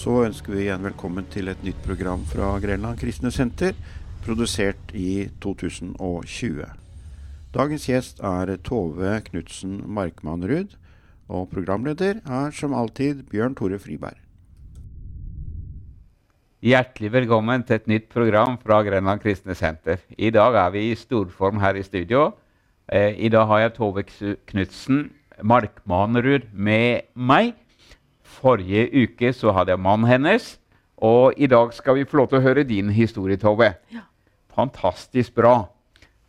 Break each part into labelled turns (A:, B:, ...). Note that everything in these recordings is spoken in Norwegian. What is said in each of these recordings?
A: Så ønsker vi igjen velkommen til et nytt program fra Grenland Kristne Senter, produsert i 2020. Dagens gjest er Tove Knutsen Markmannrud, og programleder er som alltid Bjørn Tore Friberg.
B: Hjertelig velkommen til et nytt program fra Grenland Kristne Senter. I dag er vi i storform her i studio. Eh, I dag har jeg Tove Knutsen Markmanerud med meg. Forrige uke så hadde jeg mannen hennes, og i dag skal vi få lov til å høre din historie, Tove.
C: Ja.
B: Fantastisk bra.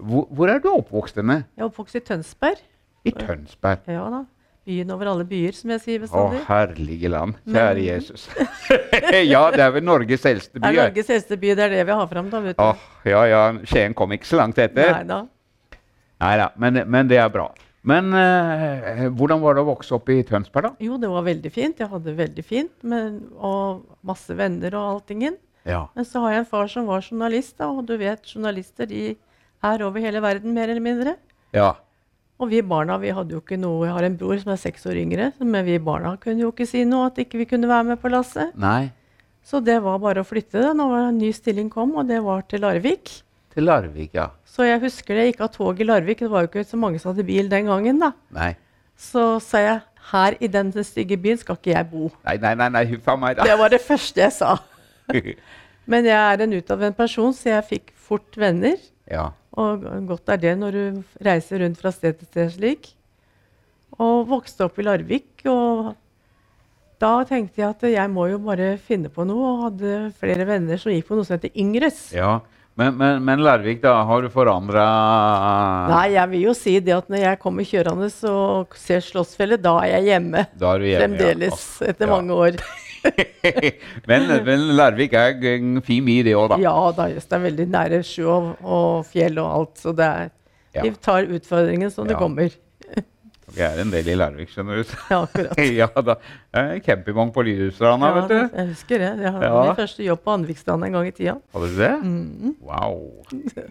B: Hvor, hvor er du oppvokst henne?
C: Jeg er oppvokst i Tønsberg.
B: I Tønsberg.
C: Ja da. Byen over alle byer, som jeg
B: Å,
C: sier bestandig.
B: herlige land.
C: Men-
B: Kjære Jesus. ja, det er vel Norges eldste by.
C: Det er
B: er-
C: Norges eldste by, det er det vi har fram, da. vet du.
B: Åh, ja, ja. Skien kom ikke så langt etter.
C: Nei da.
B: Nei da, men, men det er bra. Men eh, hvordan var det å vokse opp i Tønsberg, da?
C: Jo, det var veldig fint. Jeg hadde det veldig fint, men, og masse venner og alltingen.
B: Ja.
C: Men så har jeg en far som var journalist, da, og du vet, journalister de er over hele verden, mer eller mindre.
B: ja.
C: Og vi barna vi hadde jo ikke noe Jeg har en bror som er seks år yngre, men vi barna kunne jo ikke si noe at ikke vi kunne være med på lasset.
B: Nei,
C: Så det var bare å flytte det når en ny stilling kom, og det var til Larvik.
B: til Larvik, ja.
C: Så jeg husker det, jeg gikk av tog i Larvik. Det var jo ikke så mange som hadde bil den gangen. da.
B: Nei.
C: Så sa jeg her i den stygge byen skal ikke jeg bo.
B: Nei, nei, nei, nei huff a meg, da.
C: Det var det første jeg sa. Men jeg er en utadvendt person, så jeg fikk fort venner.
B: ja.
C: Og godt er det når du reiser rundt fra sted til sted slik. Og vokste opp i Larvik. Og da tenkte jeg at jeg må jo bare finne på noe, og hadde flere venner som gikk på noe som heter Yngres.
B: ja. Men, men, men Larvik, da, har du forandra
C: Nei, jeg vil jo si det at når jeg kommer kjørende og ser Slottsfjellet, da er jeg hjemme.
B: Da er du hjemme, ja.
C: Fremdeles, etter
B: Ja.
C: mange år.
B: men, men Larvik er en fin by, det òg, da.
C: Ja da, jøss, det er veldig nære sjø og, og fjell og alt, så det er
B: Ja.
C: Vi tar utfordringen som
B: Ja.
C: det kommer.
B: Det er en del i Larvik, skjønner du.
C: Ja, akkurat.
B: ja da. Eh, Campingvogn på Lydhusstranda,
C: Ja,
B: vet du.
C: jeg husker det. Jeg hadde
B: Ja.
C: min første jobb på Anvikstrand en gang i tida.
B: Hadde du det?
C: Mm.
B: Wow.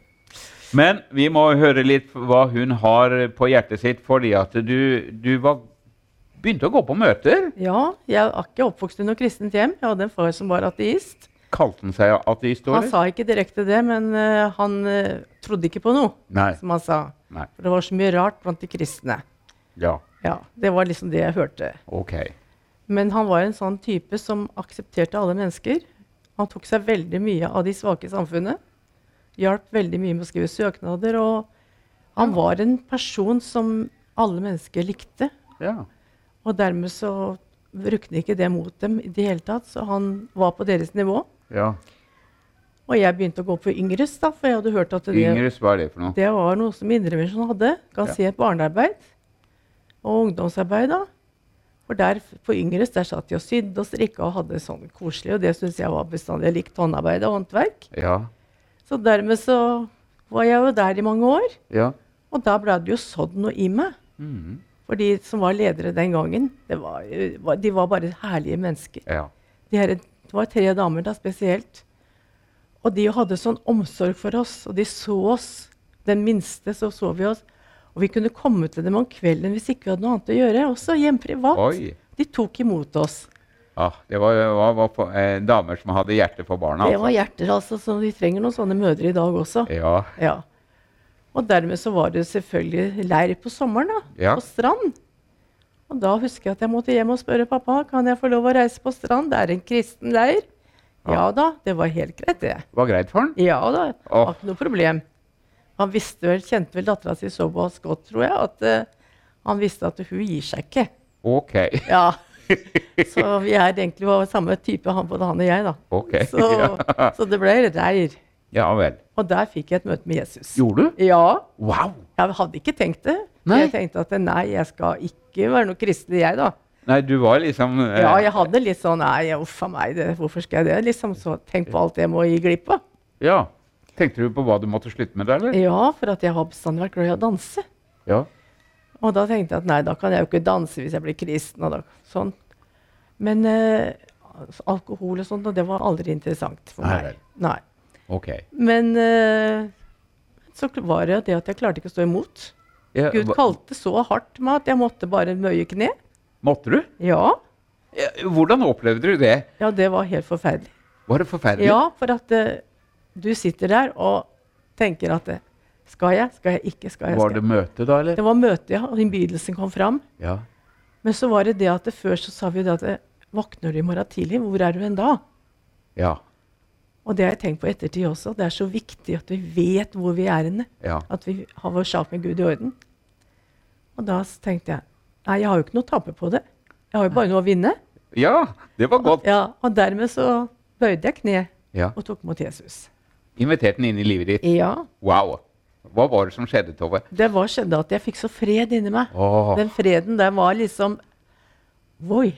B: Men vi må høre litt hva hun har på hjertet sitt, fordi at du, du var, begynte å gå på møter.
C: Ja, jeg er ikke oppvokst i noe kristent hjem. Jeg hadde en far som var ateist.
B: Kalte han seg ateist?
C: Han
B: eller?
C: sa ikke direkte det, men eh, han eh, trodde ikke på noe,
B: Nei.
C: som han sa.
B: Nei.
C: For det var så mye rart blant de kristne.
B: Ja.
C: Ja, Det var liksom det jeg hørte.
B: Ok.
C: Men han var en sånn type som aksepterte alle mennesker. Han tok seg veldig mye av de svake i samfunnet. Hjalp veldig mye med å skrive søknader. Og han var en person som alle mennesker likte.
B: Ja.
C: Og dermed så brukte ikke det mot dem i det hele tatt. Så han var på deres nivå.
B: ja.
C: Og jeg begynte å gå på Yngres, da, for jeg hadde hørt at det,
B: Yngres, hva er det for noe?
C: det var noe som Indremisjonen hadde. Kan
B: Ja.
C: si et barnearbeid og ungdomsarbeid. da. For der f- på Yngres der satt de og sydde og strikka og hadde det sånn koselig. Og det syns jeg var bestandig. Jeg likte håndarbeid og håndverk.
B: Ja.
C: Så dermed så var jeg jo der i mange år.
B: Ja.
C: Og da ble det jo sådd noe i meg.
B: Mhm.
C: For de som var ledere den gangen, det var, jo- var- de var bare herlige mennesker.
B: ja.
C: De her, det var tre damer da spesielt. Og de hadde sånn omsorg for oss, og de så oss. Den minste, så så vi oss. Og vi kunne komme til dem om kvelden hvis ikke vi hadde noe annet å gjøre. Også hjemme privat.
B: Oi.
C: De tok imot oss.
B: Ah, det var, var, var på, eh, damer som hadde hjerte for barna.
C: Det var hjerter, altså. Så de trenger noen sånne mødre i dag også.
B: Ja.
C: Ja. Og dermed så var det selvfølgelig leir på sommeren, da.
B: Ja.
C: På strand. Og da husker jeg at jeg måtte hjem og spørre pappa kan jeg få lov å reise på strand. Det er en kristen leir. Ja,
B: Ja.
C: da, det var helt greit, det.
B: Var greit for han?
C: Ja da, det
B: Åh.
C: var ikke noe problem. Han visste vel, kjente vel dattera si såpass godt, tror jeg, at eh, han visste at hun gir seg ikke.
B: Ok.
C: Ja. Så vi er egentlig var samme type, han, både han og jeg, da.
B: Ok.
C: Så,
B: Ja.
C: så det ble reir.
B: ja vel.
C: Og der fikk jeg et møte med Jesus.
B: Gjorde du?
C: Ja.
B: Wow.
C: Jeg hadde ikke tenkt det.
B: Nei.
C: Jeg tenkte at nei, jeg skal ikke være noe kristelig, jeg, da.
B: Nei, du var liksom eh,
C: Ja, jeg hadde litt sånn nei, uff a meg, det, hvorfor skal jeg det? Liksom, så Tenk på alt jeg må gi glipp av.
B: Ja. Tenkte du på hva du måtte slutte med, da? eller?
C: Ja, for at jeg har bestandig vært glad i å danse.
B: Ja.
C: Og da tenkte jeg at nei, da kan jeg jo ikke danse hvis jeg blir kristen. og da, sånn. Men eh, altså, alkohol og sånt, og det var aldri interessant for
B: Nei,
C: meg. Nei.
B: Ok.
C: Men eh, så kl- var det det at jeg klarte ikke å stå imot.
B: Ja,
C: Gud
B: hva-
C: kalte så hardt meg at jeg måtte bare møye kne.
B: Måtte du?
C: Ja.
B: Eh, Hvordan opplevde du det?
C: Ja, det var helt forferdelig.
B: Var det forferdelig?
C: Ja, for at eh, du sitter der og tenker at eh, Skal jeg, skal jeg ikke, skal jeg?
B: Var
C: Skal
B: det
C: jeg?
B: møte da, eller?
C: Det var møte, ja, og innbydelsen kom fram.
B: Ja.
C: Men så var det det at det før så sa vi jo det at eh, Våkner du i morgen tidlig, hvor er du hen da?
B: Ja.
C: Og det har jeg tenkt på i ettertid også. Det er så viktig at vi vet hvor vi er henne.
B: ja.
C: At vi har vår sak med Gud i orden. Og da s- tenkte jeg nei, jeg har jo ikke noe å tape på det. Jeg har jo bare noe å vinne.
B: Ja, det var godt.
C: Ja, og dermed så bøyde jeg kne
B: Ja.
C: og tok imot Jesus.
B: Inviterte den inn i livet ditt.
C: Ja,
B: Wow. Hva var det som skjedde, Tove?
C: Det var skjedde at jeg fikk så fred inni meg.
B: Åh.
C: Den freden der var liksom Oi,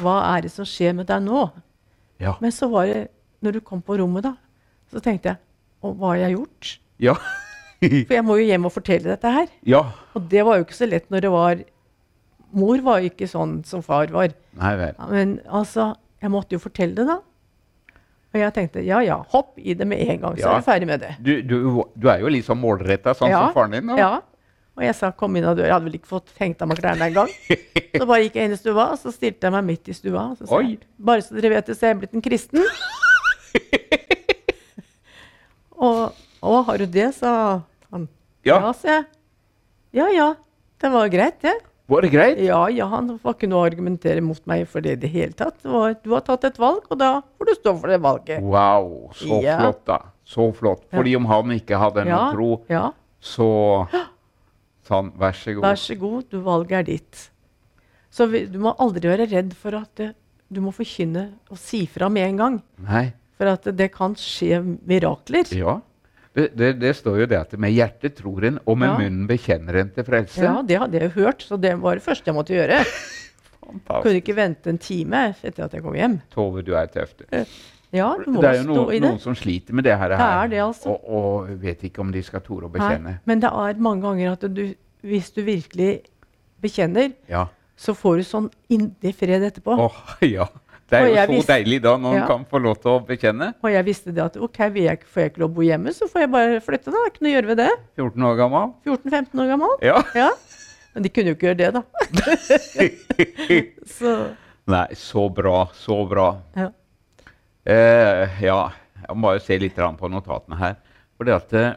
C: hva er det som skjer med deg nå?
B: Ja.
C: Men så var det Når du kom på rommet, da, så tenkte jeg Og hva har jeg gjort?
B: Ja.
C: For jeg må jo hjem og fortelle dette her.
B: ja.
C: Og det var jo ikke så lett når det var Mor var jo ikke sånn som far var.
B: Nei vel.
C: Ja, Men altså, jeg måtte jo fortelle det, da. Og jeg tenkte ja ja, hopp i det med en gang, så
B: Ja.
C: er du ferdig med det.
B: Du, du, du er jo liksom målretta, sånn som faren din. da.
C: Ja. Og jeg sa 'kom inn av døra'. Jeg hadde vel ikke fått hengt av meg klærne engang. Så bare gikk jeg inn i stua, og så stilte jeg meg midt i stua. Og så sa
B: Oi.
C: jeg, 'Bare så dere vet det, så er jeg blitt en kristen'. og 'Å, har du det?' sa han.
B: Ja.
C: sa jeg. Ja ja. Det var greit, det.
B: Var det greit?
C: Ja ja, han var ikke noe å argumentere mot meg for det i det hele tatt. Det var, du har tatt et valg, og da får du stå for det valget.
B: Wow, så
C: Ja.
B: flott, da. Så flott. Fordi om han ikke hadde noe
C: Ja,
B: tro,
C: ja.
B: så sa han vær så god.
C: Vær så god, du, valget er ditt. Så vi, du må aldri være redd for at eh, du må forkynne og si fra med en gang.
B: Nei.
C: For at eh, det kan skje mirakler.
B: Ja. Det, det, det står jo det at med hjertet tror en, og med
C: Ja.
B: munnen bekjenner en til frelse.
C: Ja, det hadde jeg jo hørt, så det var det første jeg måtte gjøre.
B: Fantastisk.
C: Kunne ikke vente en time etter at jeg kom hjem.
B: Tove, du er tøff. du.
C: Ja, du må
B: Det er jo
C: stå
B: noen,
C: i det.
B: noen som sliter med det her,
C: er det, altså.
B: og, og vet ikke om de skal tore å
C: Nei,
B: bekjenne.
C: Men det er mange ganger at du, hvis du virkelig bekjenner,
B: Ja.
C: så får du sånn inni fred etterpå.
B: Åh, ja. Det er
C: Og
B: jo
C: jeg
B: så
C: visste-
B: deilig da når en
C: Ja.
B: kan få lov til å bekjenne.
C: Og jeg visste det at ok, vil jeg, får jeg ikke lov å bo hjemme, så får jeg bare flytte, da. Ikke noe å gjøre ved det.
B: 14 år gammel.
C: 14-15 år gammel.
B: Ja.
C: Ja. Men de kunne jo ikke gjøre det, da. Så
B: Nei, så bra. Så bra.
C: ja.
B: Eh, ja, jeg må bare se litt grann på notatene her. For det at eh,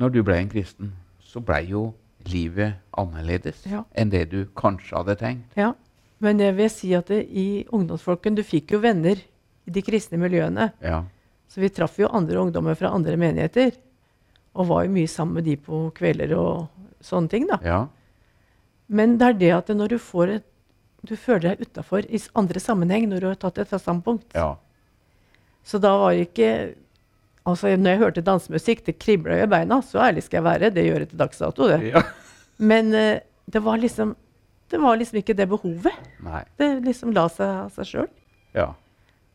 B: når du ble en kristen, så ble jo livet annerledes
C: Ja.
B: enn det du kanskje hadde tenkt.
C: ja. Men jeg vil si at det, i ungdomsfolken Du fikk jo venner i de kristne miljøene.
B: Ja.
C: Så vi traff jo andre ungdommer fra andre menigheter. Og var jo mye sammen med de på kvelder og sånne ting, da.
B: Ja.
C: Men det er det at når du får et Du føler deg utafor i s- andre sammenheng når du har tatt et standpunkt.
B: ja.
C: Så da var det ikke Altså, når jeg hørte dansemusikk, det kribla i beina. Så ærlig skal jeg være. Det gjør jeg til dags dato, det.
B: ja.
C: Men eh, det, var liksom, det var liksom ikke det behovet.
B: Nei.
C: Det liksom la seg av seg sjøl.
B: Ja.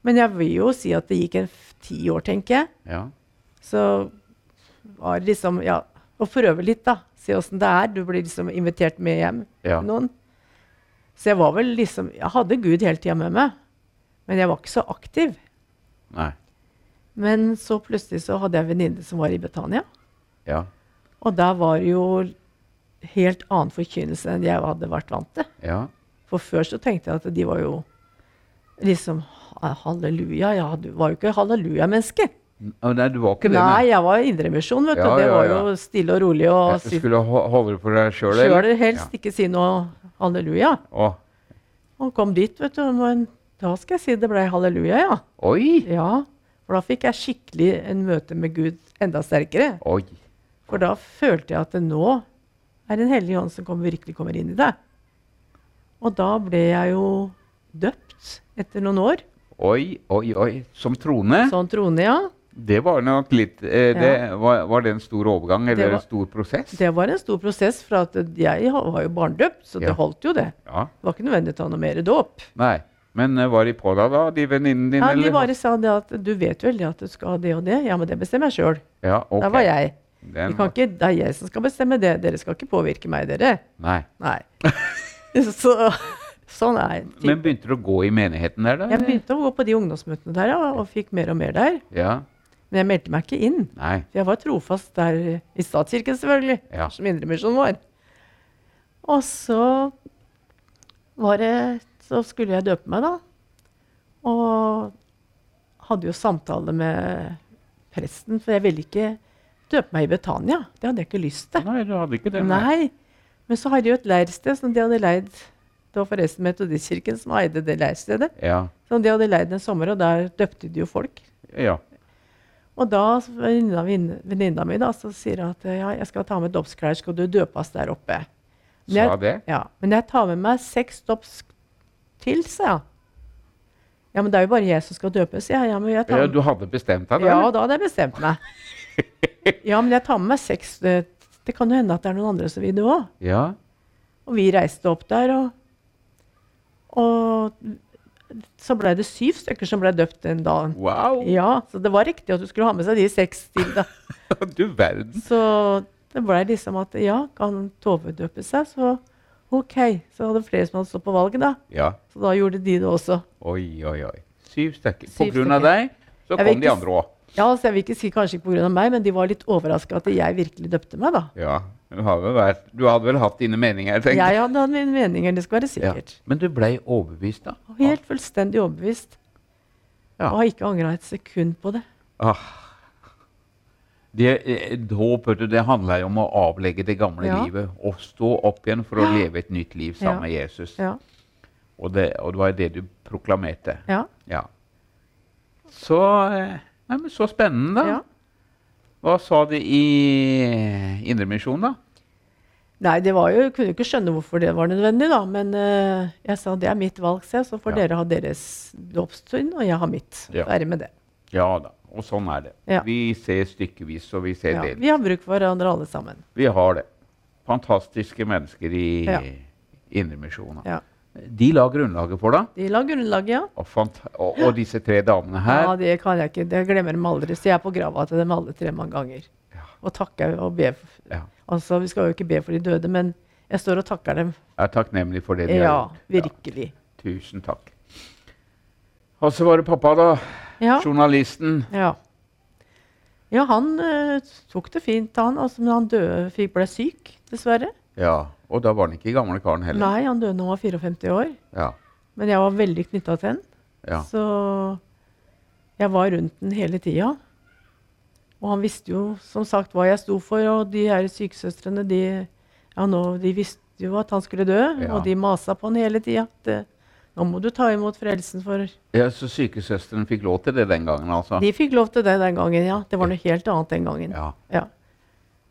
C: Men jeg vil jo si at det gikk en f- ti år, tenker jeg.
B: Ja.
C: Så var det liksom Ja, å prøve litt, da. Se åssen det er. Du blir liksom invitert med hjem
B: Ja.
C: til noen. Så jeg var vel liksom Jeg hadde Gud hele tida med meg. Men jeg var ikke så aktiv.
B: Nei.
C: Men så plutselig så hadde jeg en venninne som var i Betania.
B: Ja.
C: Og der var det jo helt annen forkynnelse enn jeg hadde vært vant til.
B: Ja.
C: For før så tenkte jeg at de var jo liksom ha- Halleluja. Jeg hadde- var jo ikke halleluja-menneske.
B: Å, Nei, du var ikke det?
C: Nei, jeg var indremisjon, vet du.
B: Ja,
C: det
B: ja,
C: var
B: ja.
C: jo stille og rolig og
B: Du skulle ho- holde det for deg sjøl?
C: sjøl helst ikke si noe halleluja.
B: Å,
C: Og kom dit, vet du. Men da skal jeg si det ble halleluja, ja.
B: Oi!
C: Ja. For da fikk jeg skikkelig en møte med Gud enda sterkere.
B: Oi.
C: For da følte jeg at det nå er Den hellige ånd som kommer, virkelig kommer inn i deg. Og da ble jeg jo døpt etter noen år.
B: Oi, oi, oi. Som trone?
C: Sånn trone, ja.
B: Det var nok litt eh, det, var, var det en stor overgang, eller
C: var-
B: en stor prosess?
C: Det var en stor prosess, for at jeg ha- var jo barndøpt, så
B: Ja.
C: det holdt jo det.
B: Ja.
C: Det var ikke nødvendig å ta noe mer dåp.
B: Nei. Men eh, var de på deg da, de venninnene dine?
C: Ja, de
B: eller?
C: bare sa det at du vet vel det at du skal ha det og det. Ja, men det bestemmer jeg sjøl.
B: ja, ok.
C: Der var jeg.
B: Den
C: Vi kan
B: var-
C: ikke, det er jeg som skal bestemme det. Dere skal ikke påvirke meg, dere.
B: Nei.
C: Nei. så sånn er ting.
B: Men begynte du å gå i menigheten der, da?
C: Jeg
B: eller?
C: begynte å gå på de ungdomsmøtene der ja, og fikk mer og mer der.
B: Ja.
C: Men jeg meldte meg ikke inn.
B: Nei.
C: For jeg var trofast der eh, i statskirken, selvfølgelig,
B: Ja.
C: som indremisjon var. Og så var det så så skulle jeg døpe meg, da. Og hadde jo samtale med presten, for jeg ville ikke døpe meg i Betania. Det hadde jeg ikke lyst til.
B: Nei, du hadde ikke det. nei.
C: Nei. Men så har de jo et leirsted som de hadde leid Det var forresten Metodistkirken som eide det leirstedet.
B: Ja.
C: Som de hadde leid en sommer, og der døpte de jo folk.
B: ja.
C: Og da så venninna min- venninna mi da, så sier hun at ja, jeg skal ta med dåpsklær, skal du døpes der oppe. Men
B: Sa
C: jeg,
B: det?
C: Ja, men jeg tar med meg seks dåps til, sa jeg. Ja, men det er jo bare jeg som skal døpes, sier jeg. Ja, men jeg tar
B: Ja,
C: med-
B: du hadde bestemt deg,
C: ja,
B: da?
C: da hadde jeg bestemt meg. Ja, men jeg tar med meg seks. eh, Det kan jo hende at det er noen andre som vil det òg.
B: Ja.
C: Og vi reiste opp der, og, og så ble det syv stykker som ble døpt den dagen.
B: Wow!
C: Ja, så det var riktig at du skulle ha med seg de seks til, da.
B: Du verden.
C: Så det ble liksom at ja, kan Tove døpe seg, så OK. Så hadde flere som hadde stått på valget, da.
B: Ja.
C: Så da gjorde de det også.
B: Oi, oi, oi. Syv stykker. På
C: Syv
B: grunn av deg, så
C: Jeg vil
B: kom de
C: ikke
B: andre òg.
C: Ja, altså jeg vil ikke si kanskje ikke pga. meg, men de var litt overraska at jeg virkelig døpte meg, da.
B: Ja. Du, har vel vært, du hadde vel hatt dine meninger, tenkte
C: Jeg hadde hatt mine meninger, det skal være
B: Ja.
C: sikkert.
B: Men du blei overbevist, da?
C: Og Helt fullstendig overbevist.
B: Ja.
C: Og har ikke angra et sekund på det.
B: Ah. Det, eh, dåp vet du, det handler jo om å avlegge det gamle
C: Ja.
B: livet og stå opp igjen for å leve et nytt liv sammen
C: Ja.
B: med Jesus.
C: Ja.
B: Og, det, og det var jo det du proklamerte.
C: Ja.
B: Ja. Så, eh, nei, men så spennende, da.
C: ja.
B: Hva sa de i Indremisjonen, da?
C: Nei, det var jo, jeg kunne jo ikke skjønne hvorfor det var nødvendig, da. Men eh, jeg sa det er mitt valg, så, jeg, så får
B: Ja.
C: dere ha deres dåpstund, og jeg har mitt.
B: Ja.
C: Ferdig med det.
B: Ja da. Og sånn er det.
C: Ja.
B: Vi ser stykkevis, og vi ser
C: Ja.
B: delvis.
C: Vi har bruk for hverandre alle sammen.
B: Vi har det. Fantastiske mennesker i
C: Ja.
B: Indremisjonen.
C: Ja.
B: De la grunnlaget for deg.
C: De la grunnlaget, ja.
B: Og, fant- og, og disse tre damene her.
C: Ja, det kan jeg ikke. Det glemmer dem aldri. Så jeg er på grava til dem alle tre mange ganger. Og takker og ber. for-
B: Ja.
C: Altså, vi skal jo ikke be for de døde, men jeg står og takker dem.
B: Jeg er takknemlig for det de
C: Ja,
B: har gjort.
C: virkelig.
B: Ja, tusen takk. Og så var det pappa, da.
C: Ja.
B: Journalisten.
C: Ja, ja han eh, tok det fint, han. Altså, men han døde, fikk, ble syk, dessverre.
B: Ja. Og da var han ikke gamle karen heller.
C: Nei, han døde da han var 54 år.
B: Ja.
C: Men jeg var veldig knytta til han.
B: ja.
C: Så jeg var rundt den hele tida. Og han visste jo som sagt hva jeg sto for, og de her sykesøstrene de, ja, nå, de visste jo at han skulle dø,
B: Ja.
C: og de masa på han hele tida. at, eh, Nå må du ta imot frelsen for
B: ja så sykesøsteren fikk lov til det den gangen, altså?
C: De fikk lov til det den gangen, ja. Det var noe helt annet den gangen.
B: Ja.
C: Ja.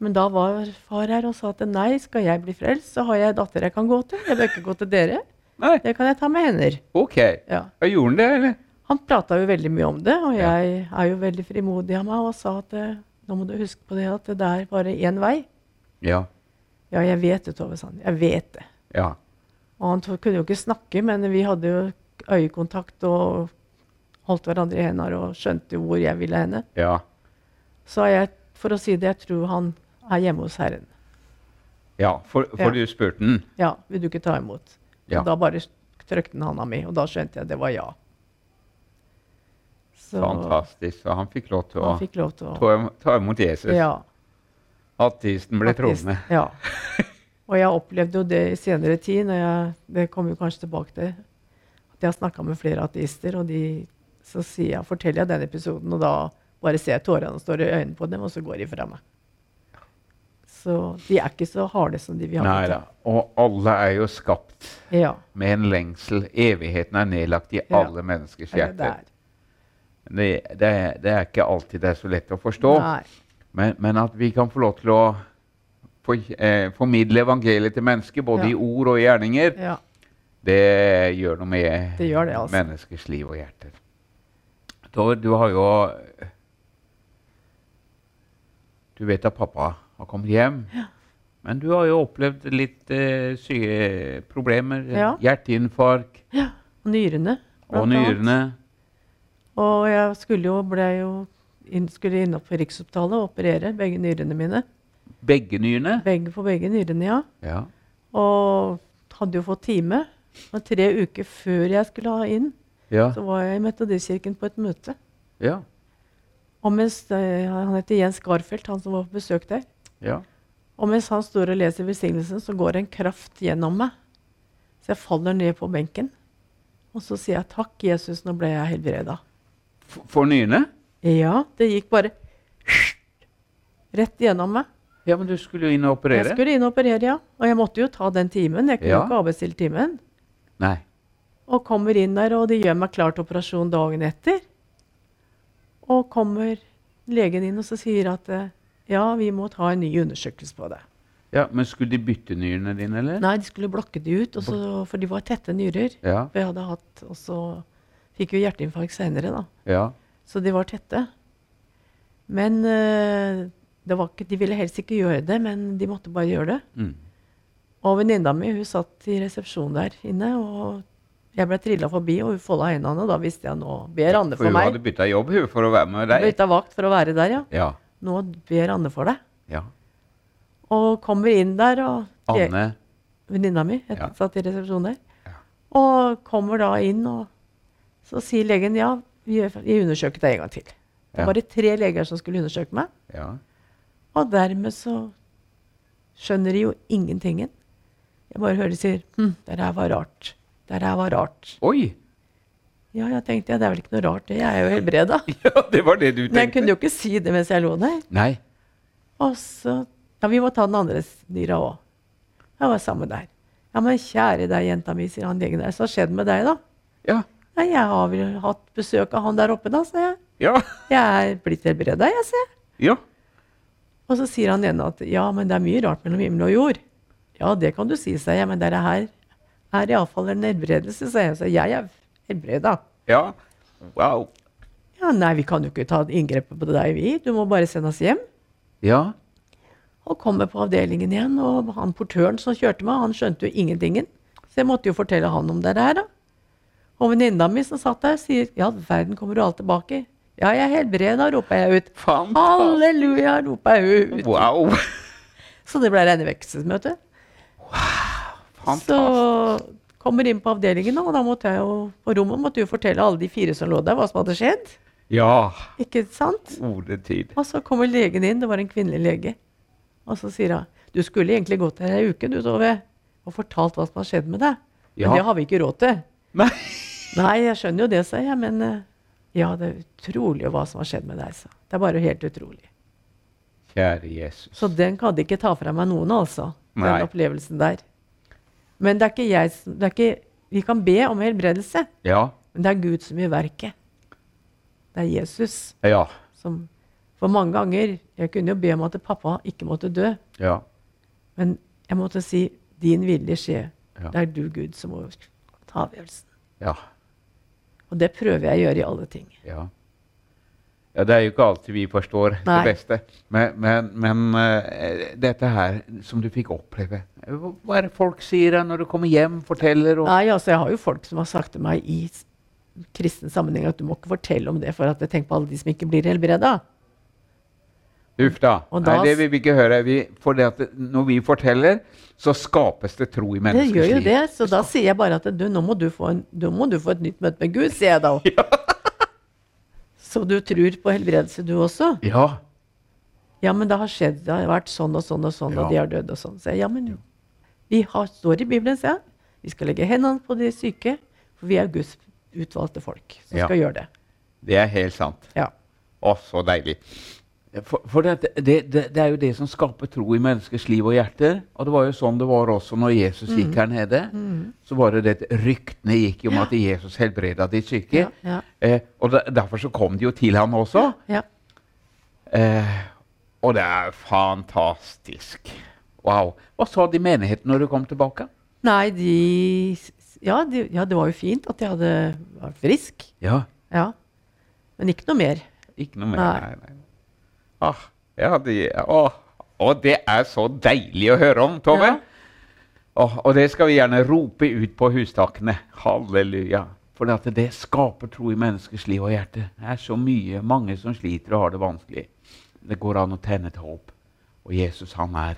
C: Men da var far her og sa at nei, skal jeg bli frelst, så har jeg ei datter jeg kan gå til. Jeg bør ikke gå til dere.
B: Nei,
C: Det kan jeg ta med hender.
B: OK.
C: Ja.
B: Ja, gjorde han det, eller?
C: Han prata jo veldig mye om det, og
B: Ja.
C: jeg er jo veldig frimodig av meg og sa at eh, nå må du huske på det at det er bare én vei.
B: Ja.
C: Ja, jeg vet det, Tove, sa han. Jeg vet det.
B: Ja.
C: Og han to- kunne jo ikke snakke, men vi hadde jo øyekontakt og holdt hverandre i hendene og skjønte jo hvor jeg ville henne.
B: ja.
C: Så jeg, for å si det, jeg tror han er hjemme hos Herren.
B: Ja, for, for
C: Ja.
B: du spurte den.
C: Ja, vil du ikke ta imot?
B: Ja.
C: Og da bare trykte han handa mi, og da skjønte jeg at det var ja. Så
B: Fantastisk. Og han fikk lov til å
C: han fikk lov til å
B: ta, ta imot Jesus.
C: Ja.
B: Ateisten ble
C: faktisk.
B: troende.
C: Ja. Og jeg opplevde jo det i senere tid, når jeg, det kommer jo kanskje tilbake til, at jeg har snakka med flere ateister, og de, så sier jeg, forteller jeg den episoden, og da bare ser jeg tårene står i øynene på dem, og så går de fra meg. Så de er ikke så harde som de vi har
B: Nei da. Og alle er jo skapt
C: Ja,
B: med en lengsel. Evigheten er nedlagt i
C: Ja.
B: alle menneskers
C: er det
B: hjerter.
C: der.
B: Det, det, er- det er ikke alltid det er så lett å forstå,
C: Nei.
B: men, men at vi kan få lov til å for, eh, formidle evangeliet til mennesker, både
C: Ja.
B: i ord og i gjerninger,
C: Ja.
B: det gjør noe med
C: Det gjør det, altså.
B: menneskers liv og hjerter. Tove, du har jo Du vet at pappa har kommet hjem, men du har jo opplevd litt eh, syke problemer.
C: Ja.
B: Hjerteinfarkt
C: Ja, og nyrene.
B: og
C: blant annet.
B: nyrene.
C: Og jeg skulle jo, ble jo inn, skulle innom på Rikshospitalet og operere begge nyrene mine.
B: Begge nyrene.
C: Begge på begge nyrene, ja.
B: Ja.
C: Og hadde jo fått time. Og tre uker før jeg skulle ha inn,
B: Ja.
C: så var jeg i Metodistkirken på et møte.
B: ja.
C: Og mens, eh, Han heter Jens Garfeldt, han som var på besøk der.
B: ja.
C: Og mens han står og leser velsignelsen, så går en kraft gjennom meg. Så jeg faller ned på benken. Og så sier jeg takk, Jesus, nå ble jeg helbreda.
B: For, for nyene?
C: Ja, det gikk bare rett gjennom meg.
B: Ja, men du skulle jo inn og operere.
C: Jeg skulle inn og operere, ja. Og jeg måtte jo ta den timen. Jeg kunne jo
B: Ja.
C: ikke avbestilt timen.
B: Nei.
C: Og kommer inn der, og de gjør meg klar til operasjon dagen etter. Og kommer legen inn og så sier at eh, ja, vi må ta en ny undersøkelse på det.
B: Ja, Men skulle de bytte nyrene dine, eller?
C: Nei, de skulle blokke de ut, og så- for de var tette nyrer.
B: Ja,
C: For jeg hadde hatt, og så fikk jo hjerteinfarkt senere, da.
B: ja.
C: Så de var tette. Men eh, det var ikke, de ville helst ikke gjøre det, men de måtte bare gjøre det.
B: Mm.
C: Og venninna mi hun satt i resepsjonen der inne, og jeg ble trilla forbi, og hun folda hendene, og da visste jeg nå ber Anne
B: For
C: for
B: hun
C: meg.
B: hadde bytta jobb hun, for å være med deg.
C: Bytta vakt for å være der, ja.
B: Ja.
C: Nå ber Anne for deg.
B: ja.
C: Og kommer inn der, og
B: Anne.
C: venninna mi het-
B: Ja.
C: satt i resepsjonen der. Og kommer da inn, og så sier legen ja, vi gjør- vi undersøker deg en gang til. Det
B: Ja.
C: var bare tre leger som skulle undersøke meg.
B: Ja.
C: Og dermed så skjønner de jo ingentingen. Jeg bare hører de sier hm, 'Det her var rart'. Det her var rart.
B: Oi!
C: Ja, jeg tenkte ja, det er vel ikke noe rart, det. Jeg er jo helbreda.
B: Ja, det var det du
C: Men jeg
B: tenkte.
C: kunne jo ikke si det mens jeg lå der.
B: Nei.
C: Og så Ja, vi må ta den andre dyra òg. Jeg var sammen der. Ja, men kjære deg, jenta mi, sier han legen der. Så har skjedd med deg, da?
B: Ja.
C: Nei, jeg har vel hatt besøk av han der oppe, da, sa jeg.
B: Ja.
C: Jeg er blitt helbreda, jeg, sier jeg.
B: Ja.
C: Og så sier han ene at ja, men det er mye rart mellom himmel og jord. Ja, det kan du si, sa jeg, men det er her er iallfall en helbredelse, sa jeg. Så jeg er helbreda.
B: ja. Wow.
C: Ja, nei, vi kan jo ikke ta inngrepet på deg, vi. Du må bare sende oss hjem.
B: Ja.
C: Og kommer på avdelingen igjen, og han portøren som kjørte meg, han skjønte jo ingentingen. Så jeg måtte jo fortelle han om det der, da. Og venninna mi som satt der, sier ja, verden kommer jo alt tilbake. Ja, jeg er helbreda, roper jeg ut.
B: Fantastisk.
C: Halleluja, roper jeg ut.
B: Wow.
C: Så det ble rene vekkelsesmøte. Så
B: Fantastisk.
C: kommer inn på avdelingen, og da måtte jeg jo på rommet måtte jo fortelle alle de fire som lå der, hva som hadde skjedd.
B: Ja.
C: Ikke sant?
B: Ordetid.
C: Og så kommer legen inn, det var en kvinnelig lege. Og så sier hun du skulle egentlig gått her ei uke, du, Tove, og fortalt hva som har skjedd med deg. Men
B: Ja.
C: det har vi ikke råd til.
B: Nei.
C: Nei, jeg skjønner jo det, sa jeg, men eh, ja, det er utrolig hva som har skjedd med deg, sa hun. Det er bare helt utrolig.
B: Kjære Jesus.
C: Så den kan de ikke ta fra meg noen, altså. Den
B: Nei.
C: opplevelsen der. Men det er ikke jeg som det er ikke, Vi kan be om helbredelse,
B: Ja.
C: men det er Gud som gjør verket. Det er Jesus
B: Ja.
C: som For mange ganger Jeg kunne jo be om at pappa ikke måtte dø,
B: Ja.
C: men jeg måtte si 'din vilje skje'.
B: Ja.
C: Det er du, Gud, som må ta avgjørelsen.
B: Ja.
C: Og det prøver jeg å gjøre i alle ting.
B: Ja. ja. Det er jo ikke alltid vi forstår
C: Nei.
B: det beste. Men, men, men eh, dette her som du fikk oppleve Hva er det folk sier da når du kommer hjem, forteller og
C: Nei, altså, jeg har jo folk som har sagt til meg i s- kristen sammenheng at du må ikke fortelle om det, for at jeg tenker på alle de som ikke blir helbreda.
B: Uff da.
C: Og
B: Nei,
C: da-
B: det vil vi ikke høre. Vi, for det at det- når vi forteller, så skapes det tro i
C: Det
B: menneskers
C: gjør jo
B: liv.
C: det, så da sier jeg bare at du, nå må du få, en, nå må du få et nytt møte med Gud, sier jeg da. Så du tror på helbredelse, du også?
B: Ja.
C: Ja, men det har skjedd, det har vært sånn og sånn og sånn,
B: Ja.
C: og de har dødd og sånn. Så jeg, ja, men vi har, står i Bibelen, sier jeg. Vi skal legge hendene på de syke, for vi er Guds utvalgte folk som
B: Ja.
C: skal gjøre det.
B: Det er helt sant.
C: Ja.
B: Å, så deilig. For, for det, det, det, det er jo det som skaper tro i menneskers liv og hjerter. Og det var jo sånn det var også når Jesus
C: Mm.
B: gikk her nede. Så var det det at ryktene gikk jo om at Jesus helbreda de syke.
C: Ja, ja.
B: Eh, og der- derfor så kom de jo til han også.
C: ja.
B: Eh, og det er fantastisk. Wow. Hva sa de i menigheten når du kom tilbake?
C: Nei, de ja, de ja, det var jo fint at jeg hadde vært frisk.
B: Ja,
C: Ja. Men ikke noe mer.
B: ikke noe mer.
C: Nei.
B: Nei, nei. Ah, ja, de, å, å, det er så deilig å høre om, Tove.
C: Ja.
B: Åh, og det skal vi gjerne rope ut på hustakene. Halleluja. For at det skaper tro i menneskers liv og hjerte. Det er så mye, mange som sliter og har det vanskelig. Det går an å tenne et håp. Og Jesus, han er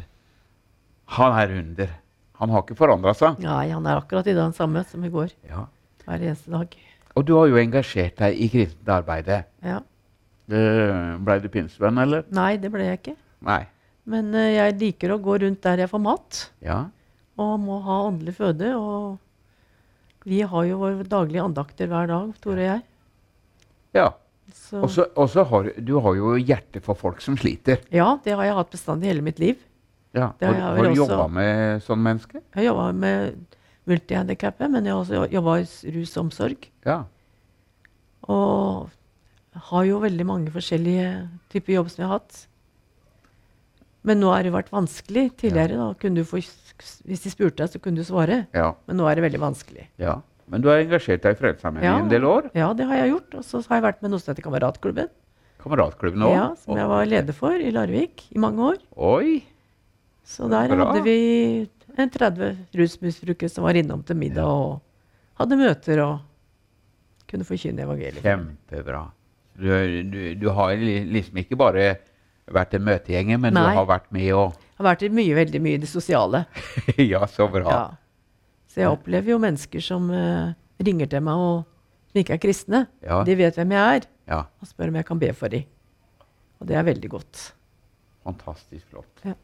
B: Han er under. Han har ikke forandra seg.
C: Nei, han er akkurat i den samme som i går.
B: Ja.
C: Hver eneste dag.
B: Og du har jo engasjert deg i kristent arbeid.
C: Ja.
B: Blei Eh, du pinsevenn, eller?
C: Nei, det ble jeg ikke.
B: Nei.
C: Men eh, jeg liker å gå rundt der jeg får mat,
B: Ja.
C: og må ha åndelig føde. Og Vi har jo våre daglige andakter hver dag, Tore og jeg.
B: Ja.
C: Så,
B: Og så og så har du- du har jo hjerte for folk som sliter.
C: ja, det har jeg hatt bestandig hele mitt liv.
B: Ja.
C: Det
B: Har,
C: har jeg
B: har
C: vel
B: du
C: også.
B: jobba med sånne mennesker?
C: Jeg har jobba med multihandikappet, men jeg har også jobba i s- rusomsorg.
B: Ja.
C: Og har jo veldig mange forskjellige typer jobb som jeg har hatt. Men nå har det vært vanskelig. Tidligere da, kunne du få, s- hvis de spurte deg, så kunne du svare.
B: ja.
C: Men nå er det veldig vanskelig.
B: ja. Men du har engasjert deg i Frelsesarmeen
C: Ja.
B: i en del år.
C: Ja, det har jeg gjort. Og så har jeg vært med noe som heter Kameratklubben.
B: Kameratklubben òg.
C: Ja, som jeg var leder for i Larvik i mange år.
B: Oi!
C: Så der
B: Bra.
C: hadde vi en 30 rusmisbrukere som var innom til middag og hadde møter og kunne forkynne evangeliet.
B: Kjempebra. Du, du, du har li- liksom ikke bare vært en møtegjenger, men
C: Nei.
B: du har vært med og
C: Jeg har vært i mye, veldig mye i det sosiale.
B: Ja, så bra.
C: Ja. Så jeg opplever jo mennesker som eh, ringer til meg og som ikke er kristne.
B: Ja.
C: De vet hvem jeg er,
B: Ja,
C: og spør om jeg kan be for dem. Og det er veldig godt.
B: Fantastisk flott.
C: Ja.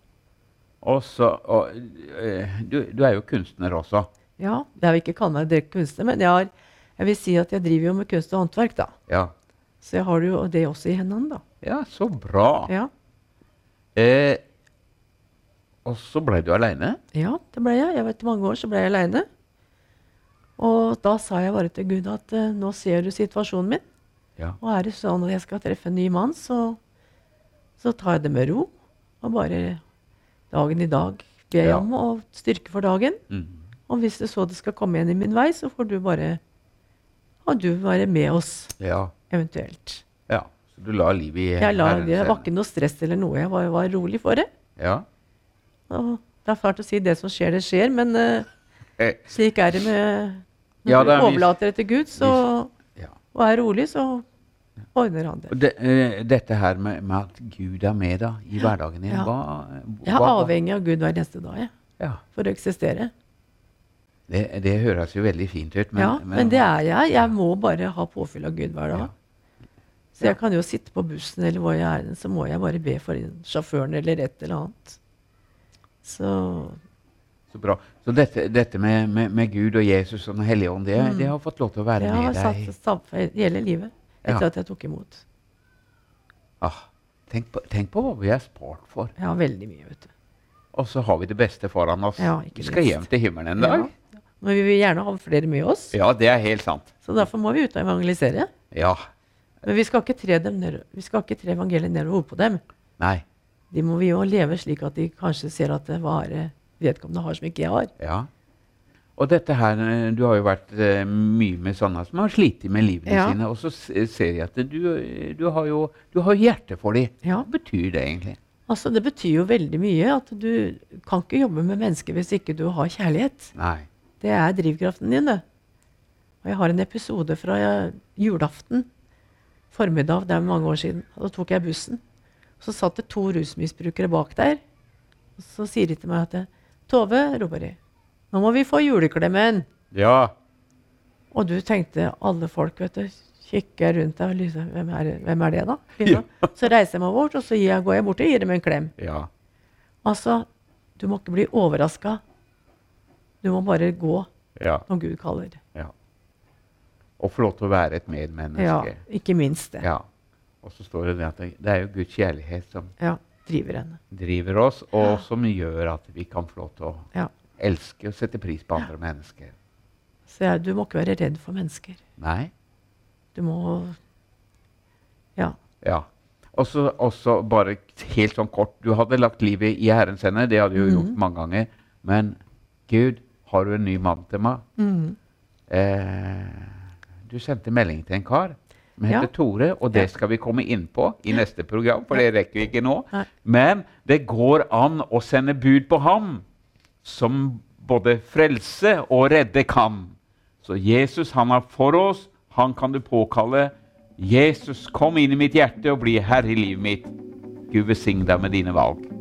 B: Og så og, eh, du, du er jo kunstner også.
C: Ja, Jeg vil ikke kalle meg direkte kunstner, men jeg, har, jeg vil si at jeg driver jo med kunst og håndverk, da.
B: Ja.
C: Så jeg har jo det også i hendene, da.
B: Ja, så bra.
C: Ja,
B: Eh, og så ble du aleine.
C: ja det ble jeg. jeg vet, I mange år så ble jeg aleine. Og da sa jeg bare til Gud at eh, nå ser du situasjonen min.
B: Ja.
C: Og er det sånn at jeg skal treffe en ny mann, så, så tar jeg det med ro. Og bare dagen i dag ber jeg
B: Ja.
C: om og styrke for dagen.
B: Mm.
C: Og hvis det så det skal komme igjen i min vei, så får du bare og du være med oss,
B: ja.
C: eventuelt.
B: Ja. Så du la livet i
C: Jeg la,
B: Herrens
C: det var
B: hender.
C: ikke noe stress eller noe. Jeg var, var rolig for det.
B: Ja.
C: Og det er fælt å si det som skjer, det skjer, men eh,
B: Eh,
C: slik er det med Når
B: Ja,
C: du
B: det er en viss-
C: overlater det til Gud, så,
B: ja.
C: og er rolig, så ordner han det.
B: Og det- eh, dette her med, med at Gud er med da, i hverdagen din,
C: Ja.
B: hva,
C: Jeg er
B: hva- hva-
C: avhengig av Gud hver neste dag jeg,
B: Ja,
C: for å eksistere.
B: det, det høres jo veldig fint ut, men,
C: ja, men, det er jeg. Jeg må bare ha påfyll av Gud hver dag.
B: Ja.
C: Så jeg kan jo sitte på bussen eller hvor jeg er, så må jeg bare be for sjåføren eller et eller annet. Så
B: så bra. Så dette, dette med, med, med Gud og Jesus og Den hellige ånd, det, det har fått lov til å være
C: Mm. det har
B: med deg.
C: satt samfunn hele livet etter
B: Ja.
C: at jeg tok imot.
B: Ah, tenk, på, tenk på hva vi er spart for.
C: Jeg har veldig mye, vet du.
B: Og så har vi det beste foran oss.
C: Ja, ikke
B: vi skal
C: minst.
B: hjem til himmelen en dag.
C: Ja. Men vi vil gjerne ha flere med oss,
B: Ja, det er helt sant.
C: så derfor må vi ut og evangelisere.
B: Ja.
C: Men vi skal ikke tre, dem ned, vi skal ikke tre evangeliet nedover hodet på dem.
B: Nei.
C: De må vi jo leve slik at de kanskje ser at det hva er det vedkommende har som ikke jeg har.
B: Ja. Og dette her, eh, du har jo vært eh, mye med sånne som har slitt med livene
C: Ja.
B: sine, og så s- ser jeg at du, eh, du har jo du har hjerte for dem.
C: Ja.
B: Hva betyr det egentlig?
C: Altså, Det betyr jo veldig mye at du kan ikke jobbe med mennesker hvis ikke du har kjærlighet.
B: Nei.
C: Det er drivkraften din, det. Og jeg har en episode fra eh, julaften formiddag, det er mange år siden. og Da tok jeg bussen. Så satt det to rusmisbrukere bak der. Og så sier de til meg at Tove, roper de, nå må vi få juleklemmen.
B: Ja.
C: Og du tenkte alle folk, vet du, kikker rundt deg og lyser, hvem er, hvem er det da? Liksom. Så reiser jeg meg bort, og så gir jeg, går jeg bort og gir dem en klem.
B: Ja.
C: Altså, du må ikke bli overraska. Du må bare gå
B: Ja.
C: når Gud kaller.
B: ja. Og få lov til å være et medmenneske.
C: Ja, ikke minst det.
B: Ja. Og så står det det at det det er jo Guds kjærlighet som
C: Ja, driver henne.
B: driver oss, og som gjør at vi kan få lov til å
C: Ja.
B: elske og sette pris på andre mennesker.
C: Så jeg, du må ikke være redd for mennesker.
B: Nei?
C: Du må Ja.
B: Ja. Og så og så bare helt sånn kort. Du hadde lagt livet i Herrens hender. Det hadde du jo gjort mange ganger. Men Gud, har du en ny mann til meg? Eh, du sendte melding til en kar som
C: Ja.
B: heter Tore, og det skal vi komme inn på i neste program, for det rekker vi ikke nå.
C: Nei.
B: Men det går an å sende bud på ham som både frelse og redde kan. Så Jesus, han er for oss. Han kan du påkalle. Jesus, kom inn i mitt hjerte og bli herre i livet mitt. Gud besigne deg med dine valg.